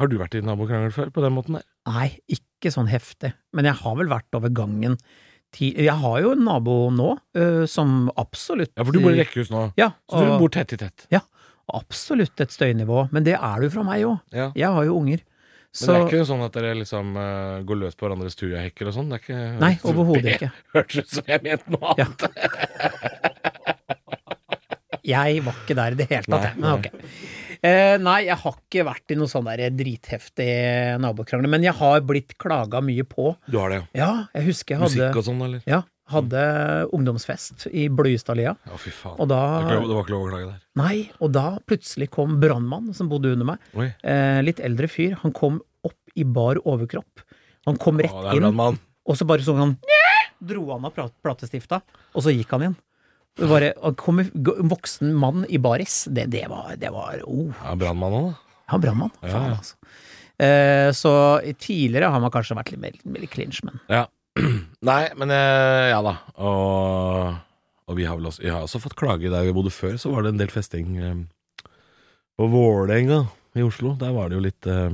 [SPEAKER 2] Har du vært i nabokrangel før på den måten der?
[SPEAKER 3] Nei, ikke sånn heftig. Men jeg har vel vært over gangen ti Jeg har jo en nabo nå øh, som absolutt
[SPEAKER 2] Ja, for du bor i rekkehus nå,
[SPEAKER 3] Ja,
[SPEAKER 2] så du
[SPEAKER 3] og-
[SPEAKER 2] bor tett i tett.
[SPEAKER 3] absolutt et støynivå, men det er det jo fra meg òg.
[SPEAKER 2] Ja.
[SPEAKER 3] Jeg har jo unger.
[SPEAKER 2] Men
[SPEAKER 3] Så
[SPEAKER 2] det er ikke sånn at dere liksom eh, går løs på hverandres tujahekker og sånn? Det er ikke
[SPEAKER 3] Nei, overhodet
[SPEAKER 2] [LAUGHS]
[SPEAKER 3] ikke.
[SPEAKER 2] Det Hørtes ut som jeg mente noe
[SPEAKER 3] Ja.
[SPEAKER 2] annet.
[SPEAKER 3] Jeg var ikke der i det hele tatt, jeg. Men
[SPEAKER 2] Nei,
[SPEAKER 3] ok. Eh, nei, jeg har ikke vært i noe sånn der dritheftig nabokrangel, men jeg har blitt klaga mye på.
[SPEAKER 2] Du har det, ja.
[SPEAKER 3] Ja, jeg husker jeg hadde
[SPEAKER 2] Musikk og sånn, eller?
[SPEAKER 3] Ja, hadde ungdomsfest i Bløystadlia,
[SPEAKER 2] Ja, fy faen.
[SPEAKER 3] og
[SPEAKER 2] Det var ikke
[SPEAKER 3] da
[SPEAKER 2] lov- det var ikke lov å klage der.
[SPEAKER 3] Nei, og da plutselig kom brannmann som bodde under meg.
[SPEAKER 2] Oi.
[SPEAKER 3] Eh, litt eldre fyr. Han kom opp i bar overkropp. Han kom
[SPEAKER 2] Å,
[SPEAKER 3] rett
[SPEAKER 2] det er
[SPEAKER 3] inn,
[SPEAKER 2] brannmann.
[SPEAKER 3] og så bare sånn han Dro han av plat- platestifta, og så gikk han igjen. Det var, han kom i- g- en voksen mann i baris. Det, det var, det var oh,
[SPEAKER 2] Ja, brannmann òg, da.
[SPEAKER 3] Han brannmann.
[SPEAKER 2] Ja,
[SPEAKER 3] Faen,
[SPEAKER 2] ja.
[SPEAKER 3] altså. Eh, så tidligere har man kanskje vært litt mer mer clinch, men
[SPEAKER 2] Ja. Nei, men eh, ja da. Og, og vi har vel også, jeg har også fått klage der vi bodde før, så var det en del festing eh, på Vålerenga i Oslo. Der var det jo litt eh,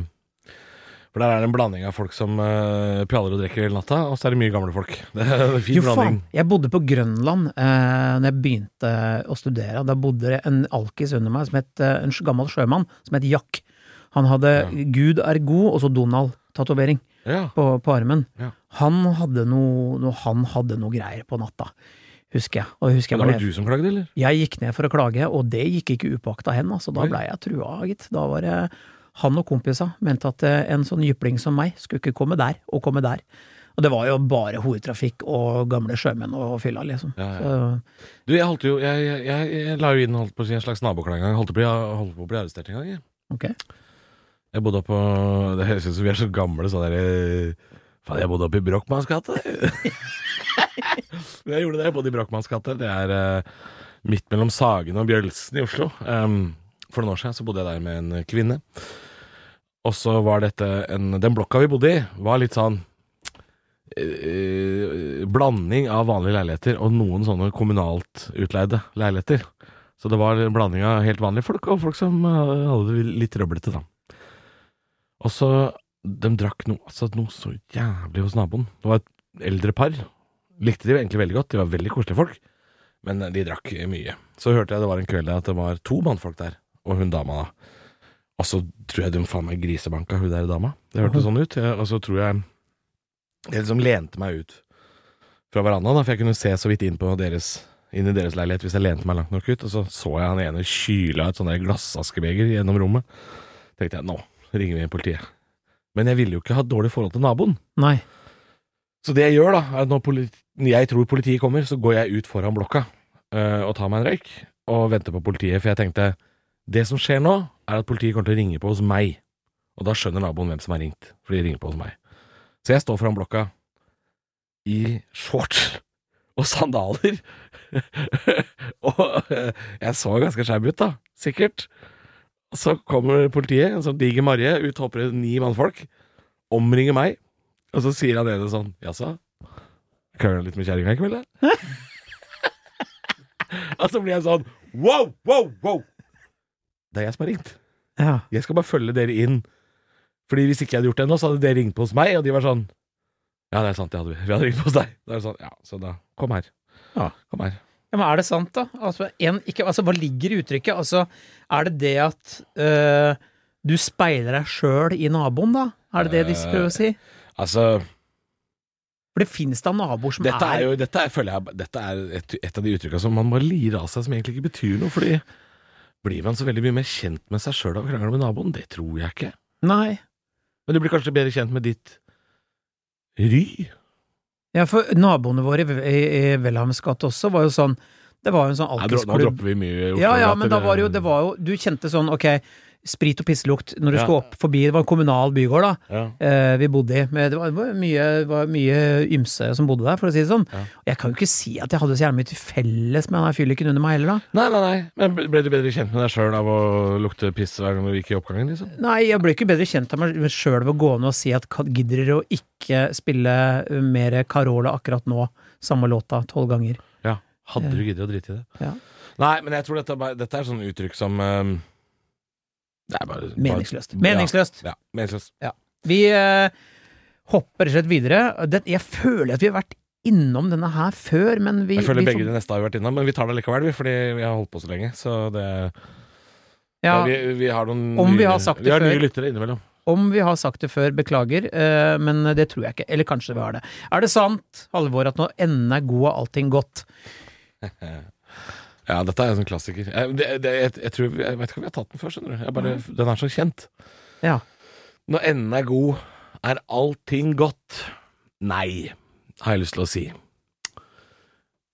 [SPEAKER 2] For der er det en blanding av folk som eh, pjaller og drikker hele natta, og så er det mye gamle folk. [LAUGHS] Det er en fin
[SPEAKER 3] Jo,
[SPEAKER 2] blanding.
[SPEAKER 3] faen! Jeg bodde på Grønland eh, Når jeg begynte å studere. Da bodde det en alkis under meg, som het, eh, en gammel sjømann, som het Jack. Han hadde Gud er god, og så Donald-tatovering
[SPEAKER 2] Ja.
[SPEAKER 3] på, på armen.
[SPEAKER 2] Ja.
[SPEAKER 3] Han, hadde noe, noe, han hadde noe greier på natta, husker jeg. Og husker
[SPEAKER 2] Men det
[SPEAKER 3] jeg var
[SPEAKER 2] var
[SPEAKER 3] nede-
[SPEAKER 2] du som klagde, eller?
[SPEAKER 3] Jeg gikk ned for å klage, og det gikk ikke upåakta hen. Altså, da
[SPEAKER 2] Oi.
[SPEAKER 3] blei jeg trua, gitt. Da var det han og kompisa mente at eh, en sånn jypling som meg skulle ikke komme der, og komme der. Og det var jo bare horetrafikk og gamle sjømenn og fylla, liksom.
[SPEAKER 2] Ja, ja.
[SPEAKER 3] Så,
[SPEAKER 2] Du, jeg holdt jo Jeg, jeg, jeg, jeg la jo inn holdt på å si en slags naboklang en gang. Jeg Holdt på, jeg holdt på å bli arrestert en gang, jeg.
[SPEAKER 3] ok.
[SPEAKER 2] Jeg bodde oppe på Det høres ut som vi er så gamle sånn derre Faen, jeg bodde oppe i Brochmanns gate. jeg gjorde det. Jeg bodde i Brochmanns gate. Det er eh, midt mellom Sagen og Bjølsen i Oslo. Em, for noen år siden så bodde jeg der med en kvinne. Og så var dette en Den blokka vi bodde i, var litt sånn eh, Blanding av vanlige leiligheter og noen sånne kommunalt utleide leiligheter. Så det var en blanding av helt vanlige folk og folk som eh, hadde det litt trøblete, da. Og så De drakk noe, altså, noe så jævlig hos naboen. Det var et eldre par. Likte de egentlig veldig godt. De var veldig koselige folk. Men de drakk mye. Så hørte jeg det var en kveld der at det var to mannfolk der, og hun dama da. Og så tror jeg de faen meg grisebanka hun der dama. Det hørtes sånn ut. Jeg, og så tror jeg Jeg liksom lente meg ut fra verandaen, da, for jeg kunne se så vidt inn på deres inn i deres leilighet hvis jeg lente meg langt nok ut. Og så så jeg han ene kyla et sånt der glassaskebeger gjennom rommet. Tenkte jeg nå ringer vi politiet. Men jeg ville jo ikke ha dårlig forhold til naboen.
[SPEAKER 3] Nei.
[SPEAKER 2] Så det jeg gjør, da, er at når, politi når jeg tror politiet kommer, så går jeg ut foran blokka eh, og tar meg en røyk og venter på politiet. For jeg tenkte det som skjer nå, er at politiet kommer til å ringe på hos meg. Og da skjønner naboen hvem som har ringt, for de ringer på hos meg. Så jeg står foran blokka i shorts og sandaler. [LAUGHS] og eh, jeg så ganske skeiv ut, da. Sikkert. Så kommer politiet, en sånn diger Marie, ut hopper det ni mannfolk, omringer meg, og så sier han ene sånn Jaså, krangler du litt med kjerringa i kveld, da? [LAUGHS] og så blir jeg sånn wow, wow, wow! Det er jeg som har ringt.
[SPEAKER 3] Ja.
[SPEAKER 2] Jeg skal bare følge dere inn. Fordi hvis ikke jeg hadde gjort det nå, så hadde dere ringt på hos meg, og de var sånn Ja, det er sant, det hadde vi. Vi hadde ringt på hos deg. Da er det sånn, ja, så da Kom her.
[SPEAKER 3] Ja.
[SPEAKER 2] Kom her.
[SPEAKER 3] Ja, men er det sant, da? Altså, en, ikke, altså, hva ligger i uttrykket? Altså, er det det at øh, du speiler deg sjøl i naboen, da? Er det det
[SPEAKER 2] Eh,
[SPEAKER 3] de prøver å si?
[SPEAKER 2] Altså,
[SPEAKER 3] For det fins da naboer som
[SPEAKER 2] dette er jo Dette er, føler jeg Dette er et, et av de uttrykka som man bare lirer av seg, som egentlig ikke betyr noe, fordi blir man så veldig mye mer kjent med seg sjøl av å krangle med naboen? Det tror jeg ikke.
[SPEAKER 3] Nei.
[SPEAKER 2] Men du blir kanskje bedre kjent med ditt ry?
[SPEAKER 3] Ja, for naboene våre i, i, i Welhavns gate også var jo sånn Det var jo en sånn
[SPEAKER 2] Nei, dro- nå
[SPEAKER 3] alkisklubb.
[SPEAKER 2] dropper vi mye i Oslo,
[SPEAKER 3] Ja, ja,
[SPEAKER 2] at
[SPEAKER 3] men da var det jo, det var jo Du kjente sånn, ok, sprit og pisselukt når du
[SPEAKER 2] Ja.
[SPEAKER 3] skulle opp forbi Det var en kommunal bygård, da.
[SPEAKER 2] ja.
[SPEAKER 3] eh, vi bodde i. Men det var- det var mye, det var mye ymse som bodde der, for å si det sånn.
[SPEAKER 2] Ja.
[SPEAKER 3] Og jeg kan jo ikke si at jeg hadde så jævlig mye til felles med han der fylliken under meg heller, da.
[SPEAKER 2] Nei, nei, nei. Men ble ble du bedre kjent med deg sjøl av å lukte piss hver gang du gikk i oppgangen, liksom?
[SPEAKER 3] Nei, jeg ble ikke bedre kjent av meg sjøl ved å gå ned og si at kan- gidder dere å ikke spille eh, mer Carola akkurat nå, samme låta, tolv ganger.
[SPEAKER 2] Ja. Hadde du giddet å drite i det?
[SPEAKER 3] Ja.
[SPEAKER 2] Nei, men jeg tror dette, er bare- dette er sånn uttrykk som ehm, Det er bare
[SPEAKER 3] Meningsløst.
[SPEAKER 2] bare-
[SPEAKER 3] Meningsløst!
[SPEAKER 2] Ja, ja, meningsløst.
[SPEAKER 3] Vi eh, hopper rett og slett videre. Det, jeg føler at vi har vært innom denne her før, men vi
[SPEAKER 2] Jeg føler
[SPEAKER 3] vi
[SPEAKER 2] begge de neste har vi vært innom, men vi tar det likevel, vi, fordi vi har holdt på så lenge. Så det
[SPEAKER 3] ja,
[SPEAKER 2] vi, vi har noen
[SPEAKER 3] Om vi
[SPEAKER 2] nye-
[SPEAKER 3] har sagt
[SPEAKER 2] Vi
[SPEAKER 3] det
[SPEAKER 2] har nye
[SPEAKER 3] før.
[SPEAKER 2] lyttere innimellom.
[SPEAKER 3] Om vi har sagt det før, beklager, eh, men det tror jeg ikke. Eller kanskje vi har det. Er det sant, Halvor, at når enden er god, er allting godt?
[SPEAKER 2] Ja, dette er en sånn klassiker. Jeg, det, det, jeg, jeg, tror, jeg vet ikke om vi har tatt den før, skjønner du. Jeg bare, den er så kjent.
[SPEAKER 3] Ja.
[SPEAKER 2] Når enden er god, er allting godt. Nei, har jeg lyst til å si.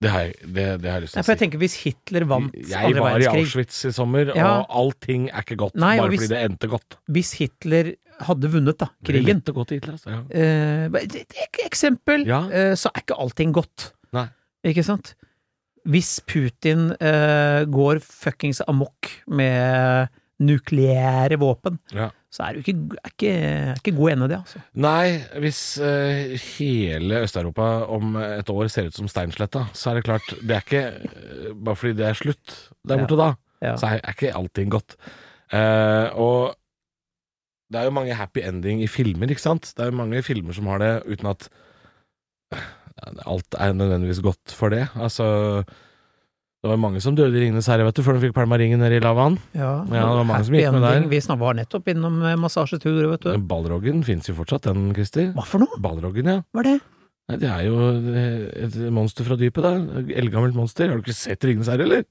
[SPEAKER 2] Det har jeg, det, det har jeg lyst
[SPEAKER 3] Nei,
[SPEAKER 2] til
[SPEAKER 3] for
[SPEAKER 2] å
[SPEAKER 3] jeg
[SPEAKER 2] si.
[SPEAKER 3] tenker hvis Hitler vant
[SPEAKER 2] Jeg
[SPEAKER 3] andre
[SPEAKER 2] var i
[SPEAKER 3] verdenskrig
[SPEAKER 2] Auschwitz i sommer,
[SPEAKER 3] Ja.
[SPEAKER 2] og allting er ikke godt
[SPEAKER 3] Nei, og
[SPEAKER 2] bare
[SPEAKER 3] hvis-
[SPEAKER 2] fordi det endte godt.
[SPEAKER 3] Hvis Hitler hadde vunnet, da, krigen
[SPEAKER 2] Det endte godt i Hitler, altså. Ja.
[SPEAKER 3] eh, bare et- et Eksempel,
[SPEAKER 2] Ja.
[SPEAKER 3] eh, så er ikke allting godt.
[SPEAKER 2] Nei.
[SPEAKER 3] Ikke sant? Hvis Putin eh, går fuckings amok med nukleære våpen,
[SPEAKER 2] Ja.
[SPEAKER 3] så er det jo ikke, er ikke, er ikke god ende, det, altså.
[SPEAKER 2] Nei, hvis eh, hele Øst-Europa om et år ser ut som Steinsletta, så er det klart Det er ikke eh, bare fordi det er slutt der borte da,
[SPEAKER 3] Ja.
[SPEAKER 2] så er, er ikke allting godt. Eh, og Det er jo mange happy ending i filmer, ikke sant? Det er jo mange filmer som har det uten at eh, alt er nødvendigvis godt for det. Altså Det var mange som døde i Ringenes herre, vet du, før de fikk pælma ringen ned i lavaen.
[SPEAKER 3] Ja,
[SPEAKER 2] det var mange som
[SPEAKER 3] happy
[SPEAKER 2] gikk med
[SPEAKER 3] ending.
[SPEAKER 2] der.
[SPEAKER 3] Vi snak- var nettopp innom eh, massasjeturer, vet du.
[SPEAKER 2] Balroggen fins jo fortsatt, den, Christer.
[SPEAKER 3] Hva for noe
[SPEAKER 2] Balroggen, ja.
[SPEAKER 3] var det?
[SPEAKER 2] Nei, Det er jo eh, et monster fra dypet, da. Eldgammelt monster. Har du ikke sett Ringenes herre, eller?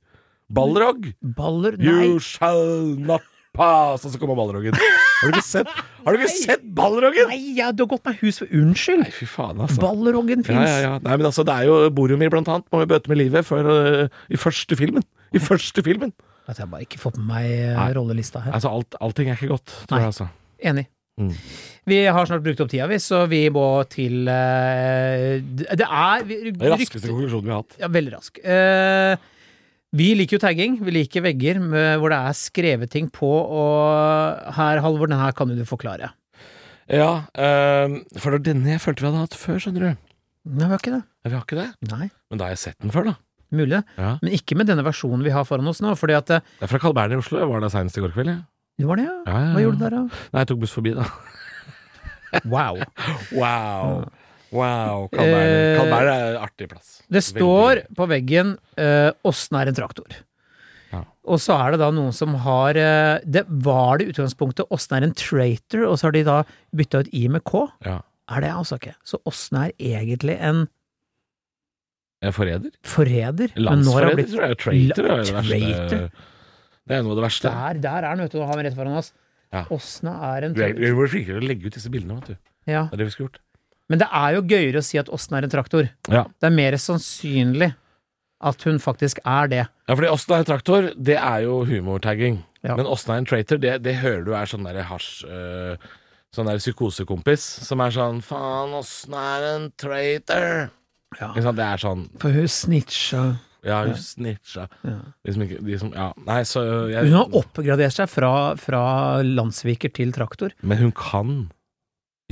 [SPEAKER 2] Balrog!
[SPEAKER 3] Baller? Nei.
[SPEAKER 2] You shall not pass! Og så kommer Balroggen. Har du ikke sett, har du ikke
[SPEAKER 3] Nei.
[SPEAKER 2] sett Balroggen?!
[SPEAKER 3] Nei, ja, du har gått meg hus ved Unnskyld!
[SPEAKER 2] Nei, fy faen, altså.
[SPEAKER 3] Balroggen
[SPEAKER 2] Ja,
[SPEAKER 3] fins!
[SPEAKER 2] ja, ja. Nei, men altså, det er jo Boromir, blant annet, må vi bøte med livet før, øh, i første filmen. I første filmen!
[SPEAKER 3] At jeg bare ikke får på meg eh,
[SPEAKER 2] Nei.
[SPEAKER 3] rollelista her.
[SPEAKER 2] Altså, alt, allting er ikke godt, tror
[SPEAKER 3] Nei.
[SPEAKER 2] jeg, altså.
[SPEAKER 3] Enig.
[SPEAKER 2] Mm.
[SPEAKER 3] Vi har snart brukt opp tida, vi, så vi må til eh, d- Det er vi-
[SPEAKER 2] Det er den
[SPEAKER 3] rykte-
[SPEAKER 2] raskeste konklusjonen vi har hatt.
[SPEAKER 3] Ja, veldig rask. Eh, vi liker jo tagging. Vi liker vegger med, hvor det er skrevet ting på, og her, Halvor, den her kan jo du forklare.
[SPEAKER 2] Ja, øhm, for det var denne jeg følte vi hadde hatt før, skjønner du.
[SPEAKER 3] Nei, vi har ikke det.
[SPEAKER 2] Ja, Vi har ikke det.
[SPEAKER 3] Nei,
[SPEAKER 2] Men da har jeg sett den før, da.
[SPEAKER 3] Mulig det.
[SPEAKER 2] Ja.
[SPEAKER 3] Men ikke med denne versjonen vi har foran oss nå, fordi at eh,
[SPEAKER 2] Det er fra Carl Berner i Oslo. Jeg var der seinest i går kveld, jeg.
[SPEAKER 3] Det var det, ja.
[SPEAKER 2] Ja, ja, ja.
[SPEAKER 3] Hva gjorde du der,
[SPEAKER 2] [LAUGHS]
[SPEAKER 3] da?
[SPEAKER 2] Nei, jeg tok buss forbi, da.
[SPEAKER 3] Wow.
[SPEAKER 2] Wow. Wow. Carl
[SPEAKER 3] Eh,
[SPEAKER 2] Berner. Carl Berner er en artig plass.
[SPEAKER 3] Det
[SPEAKER 2] Veldig.
[SPEAKER 3] står på veggen eh, 'Åssen er en traktor'.
[SPEAKER 2] Ja.
[SPEAKER 3] Og så er det da noen som har eh, Det var det i utgangspunktet 'Åssen er en traitor', og så har de da bytta ut i med k.
[SPEAKER 2] Ja.
[SPEAKER 3] Er det altså ikke. Så åssen er egentlig en
[SPEAKER 2] En forræder?
[SPEAKER 3] forræder? Men nå har
[SPEAKER 2] Landsforræder,
[SPEAKER 3] det blitt
[SPEAKER 2] tror jeg. Traitor
[SPEAKER 3] La-
[SPEAKER 2] er jo det verste.
[SPEAKER 3] traitor.
[SPEAKER 2] Det er noe av det verste.
[SPEAKER 3] Der, der er den, vet du. Nå har vi rett foran oss.
[SPEAKER 2] Ja.
[SPEAKER 3] Åssen er en
[SPEAKER 2] Du er,
[SPEAKER 3] traktor?
[SPEAKER 2] vi er flinkere til å legge ut disse bildene, vet du.
[SPEAKER 3] Ja.
[SPEAKER 2] Det er det vi skulle gjort.
[SPEAKER 3] Men det er jo gøyere å si at åssen er en traktor.
[SPEAKER 2] Ja,
[SPEAKER 3] Det er mer sannsynlig at hun faktisk er det.
[SPEAKER 2] ja fordi Åssen er en traktor, det er jo humortagging.
[SPEAKER 3] Ja.
[SPEAKER 2] Men Åssen er en traitor, det, det hører du er sånn derre hasj... øh, sånn der psykosekompis som er sånn Faen, åssen er en traitor?
[SPEAKER 3] Ja.
[SPEAKER 2] Ikke sant? Det er sånn
[SPEAKER 3] For hun snitcha.
[SPEAKER 2] Ja, hun snitcha.
[SPEAKER 3] Ja.
[SPEAKER 2] De som ikke de som, Ja, nei, så øh, jeg,
[SPEAKER 3] Hun har oppgradert seg fra, fra landsviker til traktor.
[SPEAKER 2] Men hun kan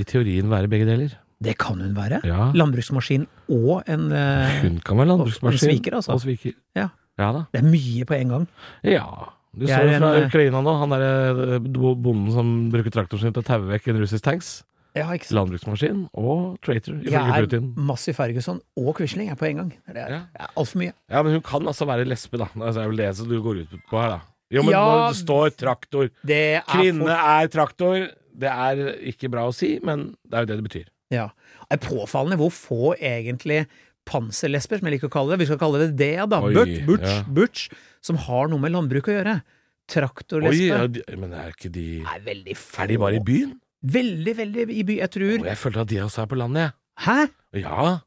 [SPEAKER 2] i teorien være begge deler.
[SPEAKER 3] Det kan hun være.
[SPEAKER 2] Ja.
[SPEAKER 3] Landbruksmaskin og en eh,
[SPEAKER 2] Hun kan være landbruksmaskin.
[SPEAKER 3] Og sviker, altså.
[SPEAKER 2] Og sviker.
[SPEAKER 3] Ja.
[SPEAKER 2] ja da.
[SPEAKER 3] Det er mye på en gang.
[SPEAKER 2] Ja. Du
[SPEAKER 3] Jeg
[SPEAKER 2] så
[SPEAKER 3] er
[SPEAKER 2] jo fra
[SPEAKER 3] en, eh,
[SPEAKER 2] Ukraina nå, han derre bonden som bruker traktoren sin til å taue vekk en russisk tanks.
[SPEAKER 3] Ja, ikke sant?
[SPEAKER 2] Landbruksmaskin og traitor,
[SPEAKER 3] Jeg
[SPEAKER 2] ifølge
[SPEAKER 3] er
[SPEAKER 2] Putin.
[SPEAKER 3] massiv Ferguson og Quisling er på en gang. Det er,
[SPEAKER 2] Ja.
[SPEAKER 3] det er altfor mye.
[SPEAKER 2] Ja, men hun kan altså være lesbe, da. Altså, det er vel det som du går ut på her, da. Jo, men
[SPEAKER 3] Ja.
[SPEAKER 2] når det står traktor
[SPEAKER 3] Det er
[SPEAKER 2] Kvinne er traktor. Det er ikke bra å si, men det er jo det det betyr.
[SPEAKER 3] For, ja. Det er påfallende hvor få egentlig panserlesber, som jeg liker å kalle det, vi skal kalle det det, da,
[SPEAKER 2] Oi,
[SPEAKER 3] butch, butch,
[SPEAKER 2] ja.
[SPEAKER 3] butch, som har noe med landbruk å gjøre.
[SPEAKER 2] Oi, ja,
[SPEAKER 3] Traktorlesbe
[SPEAKER 2] de, men er ikke de
[SPEAKER 3] er veldig få.
[SPEAKER 2] Er de bare i byen?
[SPEAKER 3] Veldig, veldig i by. Jeg
[SPEAKER 2] Og
[SPEAKER 3] tror
[SPEAKER 2] jeg følte at de også er på landet,
[SPEAKER 3] Hæ?
[SPEAKER 2] jeg. Ja.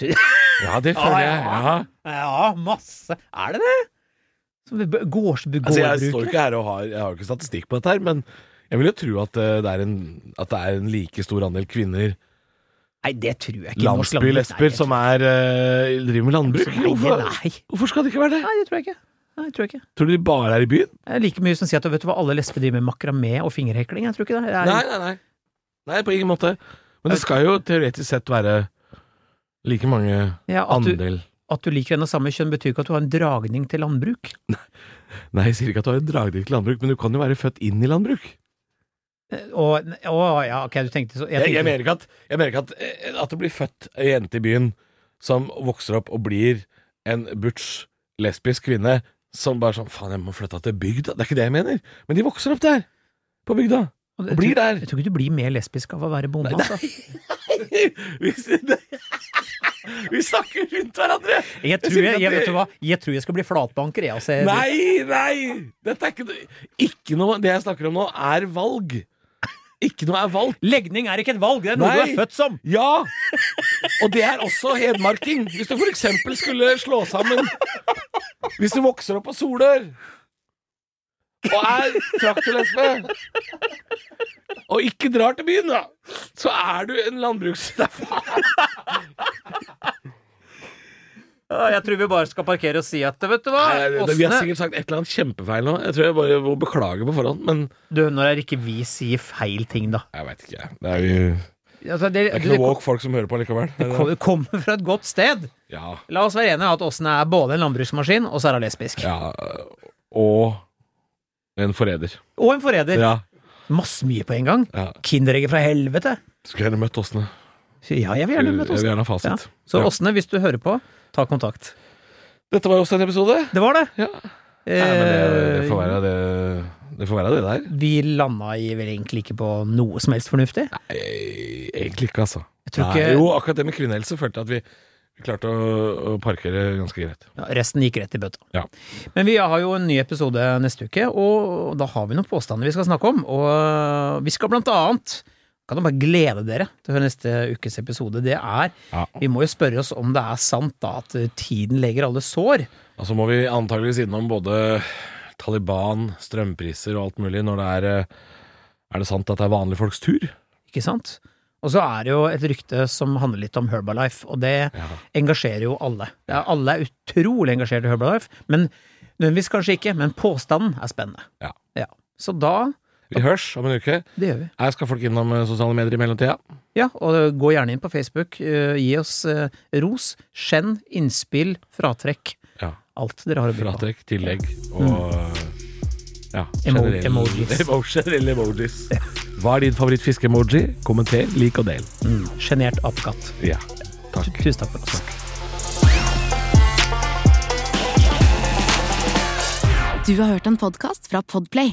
[SPEAKER 3] Du-
[SPEAKER 2] Ja, det føler
[SPEAKER 3] Ah,
[SPEAKER 2] jeg.
[SPEAKER 3] [LAUGHS] ja.
[SPEAKER 2] Ja.
[SPEAKER 3] Ja, masse. Er det det? Som det- Gårds,
[SPEAKER 2] Altså, jeg står
[SPEAKER 3] gårdbrukere?
[SPEAKER 2] ikke her og har, jeg har ikke statistikk på dette her, men jeg vil jo tro at eh, det er en, at det er en like stor andel kvinner,
[SPEAKER 3] Nei, det tror jeg ikke. Norsk landbruk-
[SPEAKER 2] landsbylesber, som er, eh, driver med landbruk.
[SPEAKER 3] Nei, det-
[SPEAKER 2] Hvorfor,
[SPEAKER 3] nei.
[SPEAKER 2] hvorfor skal det ikke være det?
[SPEAKER 3] nei, det tror jeg ikke. Nei, det tror jeg ikke.
[SPEAKER 2] Tror du de bare er i byen?
[SPEAKER 3] Det er like mye som å si at vet du hva, alle lesber driver med makramé og fingerhekling. Jeg tror ikke det. det er,
[SPEAKER 2] Nei, nei, nei. Nei, på ingen måte. Men det skal jo teoretisk sett være like mange
[SPEAKER 3] ja, at, du,
[SPEAKER 2] andel.
[SPEAKER 3] at du liker en av samme kjønn, betyr ikke at du har en dragning til landbruk.
[SPEAKER 2] Nei, jeg sier ikke at du har en dragning til landbruk, men du kan jo være født inn i landbruk.
[SPEAKER 3] Eh, Og, å, ja, ok, du tenkte så jeg
[SPEAKER 2] Jeg,
[SPEAKER 3] tenkte,
[SPEAKER 2] jeg mener ikke, at, jeg mener ikke at, eh, at det blir født ei jente i byen som vokser opp og blir en butch lesbisk kvinne som bare sånn Faen, jeg må flytte til bygda. Det er ikke det jeg mener. Men de vokser opp der. På bygda. [LAUGHS] Og blir
[SPEAKER 3] jeg,
[SPEAKER 2] der.
[SPEAKER 3] jeg tror ikke du blir mer lesbisk av å være bonde, altså.
[SPEAKER 2] Vi, [LAUGHS] vi snakker rundt hverandre.
[SPEAKER 3] Jeg tror
[SPEAKER 2] sier
[SPEAKER 3] jeg,
[SPEAKER 2] at
[SPEAKER 3] jeg, vet
[SPEAKER 2] det-
[SPEAKER 3] du hva, jeg tror jeg skal bli flatbanker, jeg, altså. Jeg-
[SPEAKER 2] Nei, nei! Dette er ikke, ikke noe Det jeg snakker om nå, er valg. Ikke noe er valgt.
[SPEAKER 3] Legning er ikke et valg, det er noe du
[SPEAKER 2] Nei.
[SPEAKER 3] er født som!
[SPEAKER 2] Ja! Og det er også hedmarking. Hvis du for eksempel skulle slå sammen Hvis du vokser opp på Solør og er traktorlesbe og ikke drar til byen, da, så er du en landbruks... Nei, faen.
[SPEAKER 3] Ja, Jeg tror vi bare skal parkere og si at vet du hva,
[SPEAKER 2] Nei, det- Vi har
[SPEAKER 3] Åsne
[SPEAKER 2] sikkert sagt et eller annet kjempefeil nå. Jeg tror jeg bare må beklage på forhånd, men
[SPEAKER 3] Du, når er ikke vi sier feil ting, da?
[SPEAKER 2] jeg veit ikke. Det er, jo,
[SPEAKER 3] Altså, det,
[SPEAKER 2] det er
[SPEAKER 3] du,
[SPEAKER 2] ikke
[SPEAKER 3] det
[SPEAKER 2] noe
[SPEAKER 3] kom-
[SPEAKER 2] woke folk som hører på likevel.
[SPEAKER 3] kom- kommer fra et godt sted.
[SPEAKER 2] Ja,
[SPEAKER 3] La oss være enige om at Åsne er både en landbruksmaskin, og så er hun lesbisk.
[SPEAKER 2] ja Og en forræder.
[SPEAKER 3] Og en forræder.
[SPEAKER 2] Ja.
[SPEAKER 3] Masse mye på en gang.
[SPEAKER 2] Ja.
[SPEAKER 3] Kinderegget fra helvete!
[SPEAKER 2] Skulle gjerne møtt Åsne.
[SPEAKER 3] Ja, jeg vil
[SPEAKER 2] Jeg
[SPEAKER 3] gjerne
[SPEAKER 2] vil
[SPEAKER 3] møte Åsne.
[SPEAKER 2] gjerne ha
[SPEAKER 3] Ja.
[SPEAKER 2] fasit.
[SPEAKER 3] Så
[SPEAKER 2] Ja.
[SPEAKER 3] Åsne, hvis du hører på, ta kontakt.
[SPEAKER 2] Dette var jo også en episode.
[SPEAKER 3] Det var det!
[SPEAKER 2] Ja. Nei, men det, det, får
[SPEAKER 3] Eh,
[SPEAKER 2] være det, det får være det der.
[SPEAKER 3] Vi landa i vel egentlig ikke på noe som helst fornuftig.
[SPEAKER 2] Nei, egentlig ikke, altså.
[SPEAKER 3] Jeg tror
[SPEAKER 2] Nei,
[SPEAKER 3] ikke
[SPEAKER 2] jo, akkurat det med kvinnehelse følte jeg at vi, vi klarte å, å parkere ganske greit.
[SPEAKER 3] Ja, Resten gikk rett i bøtta.
[SPEAKER 2] Ja.
[SPEAKER 3] Men vi har jo en ny episode neste uke, og da har vi noen påstander vi skal snakke om. Og vi skal blant annet kan da bare glede dere til å høre neste ukes episode. Det er
[SPEAKER 2] Ja.
[SPEAKER 3] Vi må jo spørre oss om det er sant da at tiden leger alle sår.
[SPEAKER 2] Og så må vi antageligvis innom både Taliban, strømpriser og alt mulig når det er eh, Er det sant at det er vanlige folks tur?
[SPEAKER 3] Ikke sant? Og så er det jo et rykte som handler litt om Herbalife, og det
[SPEAKER 2] Ja.
[SPEAKER 3] engasjerer jo alle. Ja, alle er utrolig engasjert i Herbalife, men nødvendigvis kanskje ikke, men påstanden er spennende.
[SPEAKER 2] Ja.
[SPEAKER 3] Så da
[SPEAKER 2] Vi hørs om en uke.
[SPEAKER 3] Det gjør vi.
[SPEAKER 2] Her skal folk innom eh, sosiale medier i mellomtida.
[SPEAKER 3] Ja, og gå gjerne inn på Facebook. eh, Gi oss eh, ros, skjenn, innspill, fratrekk.
[SPEAKER 2] Ja.
[SPEAKER 3] Alt dere har å by på.
[SPEAKER 2] Fratrekk, tillegg og ja,
[SPEAKER 3] Mm. Emo-
[SPEAKER 2] generelle- [LAUGHS]
[SPEAKER 3] emojis.
[SPEAKER 2] Emo- Generelle emojis. Hva er din favorittfiskeemoji? Kommenter, lik og del.
[SPEAKER 3] Sjenert apekatt.
[SPEAKER 2] Ja, takk.
[SPEAKER 3] Tusen takk for oss.
[SPEAKER 1] Du har hørt en podcast fra Podplay